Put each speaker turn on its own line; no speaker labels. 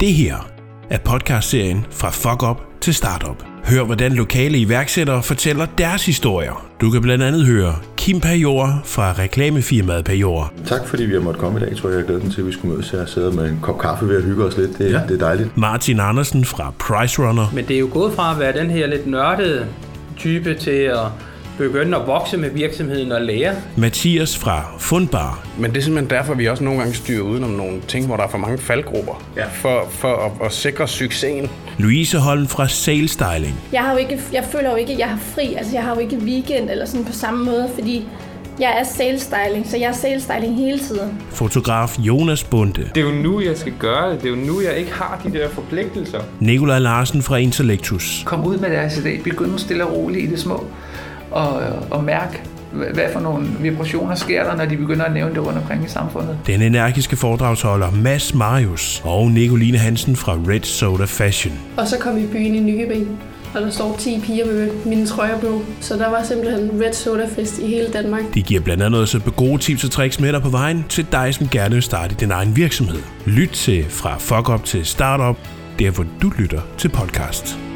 Det her er podcastserien Fra Fuck Up til Startup. Hør, hvordan lokale iværksættere fortæller deres historier. Du kan blandt andet høre Kim Pajor fra reklamefirmaet Pajor.
Tak fordi vi har måttet komme i dag, tror jeg. Jeg glæder mig til, at vi skulle mødes her og sidde med en kop kaffe ved at hygge os lidt. Det, ja. det er dejligt.
Martin Andersen fra Price Runner.
Men det er jo gået fra at være den her lidt nørdede type til at begynde at vokse med virksomheden og lære.
Mathias fra Fundbar.
Men det er simpelthen derfor, vi også nogle gange styrer udenom nogle ting, hvor der er for mange faldgrupper, ja. for, for at, at sikre succesen.
Louise Holm fra Sales Styling.
Jeg, har jo ikke, jeg føler jo ikke, at jeg har fri. Altså, jeg har jo ikke weekend eller sådan på samme måde, fordi jeg er sales styling, så jeg er sales styling hele tiden.
Fotograf Jonas Bunde.
Det er jo nu, jeg skal gøre det. Det er jo nu, jeg ikke har de der forpligtelser.
Nikolaj Larsen fra Intellectus.
Kom ud med deres idé. Begynd stille og roligt i det små og, og mærke, hvad for nogle vibrationer sker der, når de begynder at nævne det rundt omkring i samfundet.
Den energiske foredragsholder Mads Marius og Nicoline Hansen fra Red Soda Fashion.
Og så kom vi i byen i Nykøbing, og der står 10 piger med mine trøjer på. Så der var simpelthen Red Soda Fest i hele Danmark.
De giver blandt andet også gode tips og tricks med dig på vejen til dig, som gerne vil starte din egen virksomhed. Lyt til Fra Fuck Up til Startup, der hvor du lytter til podcast.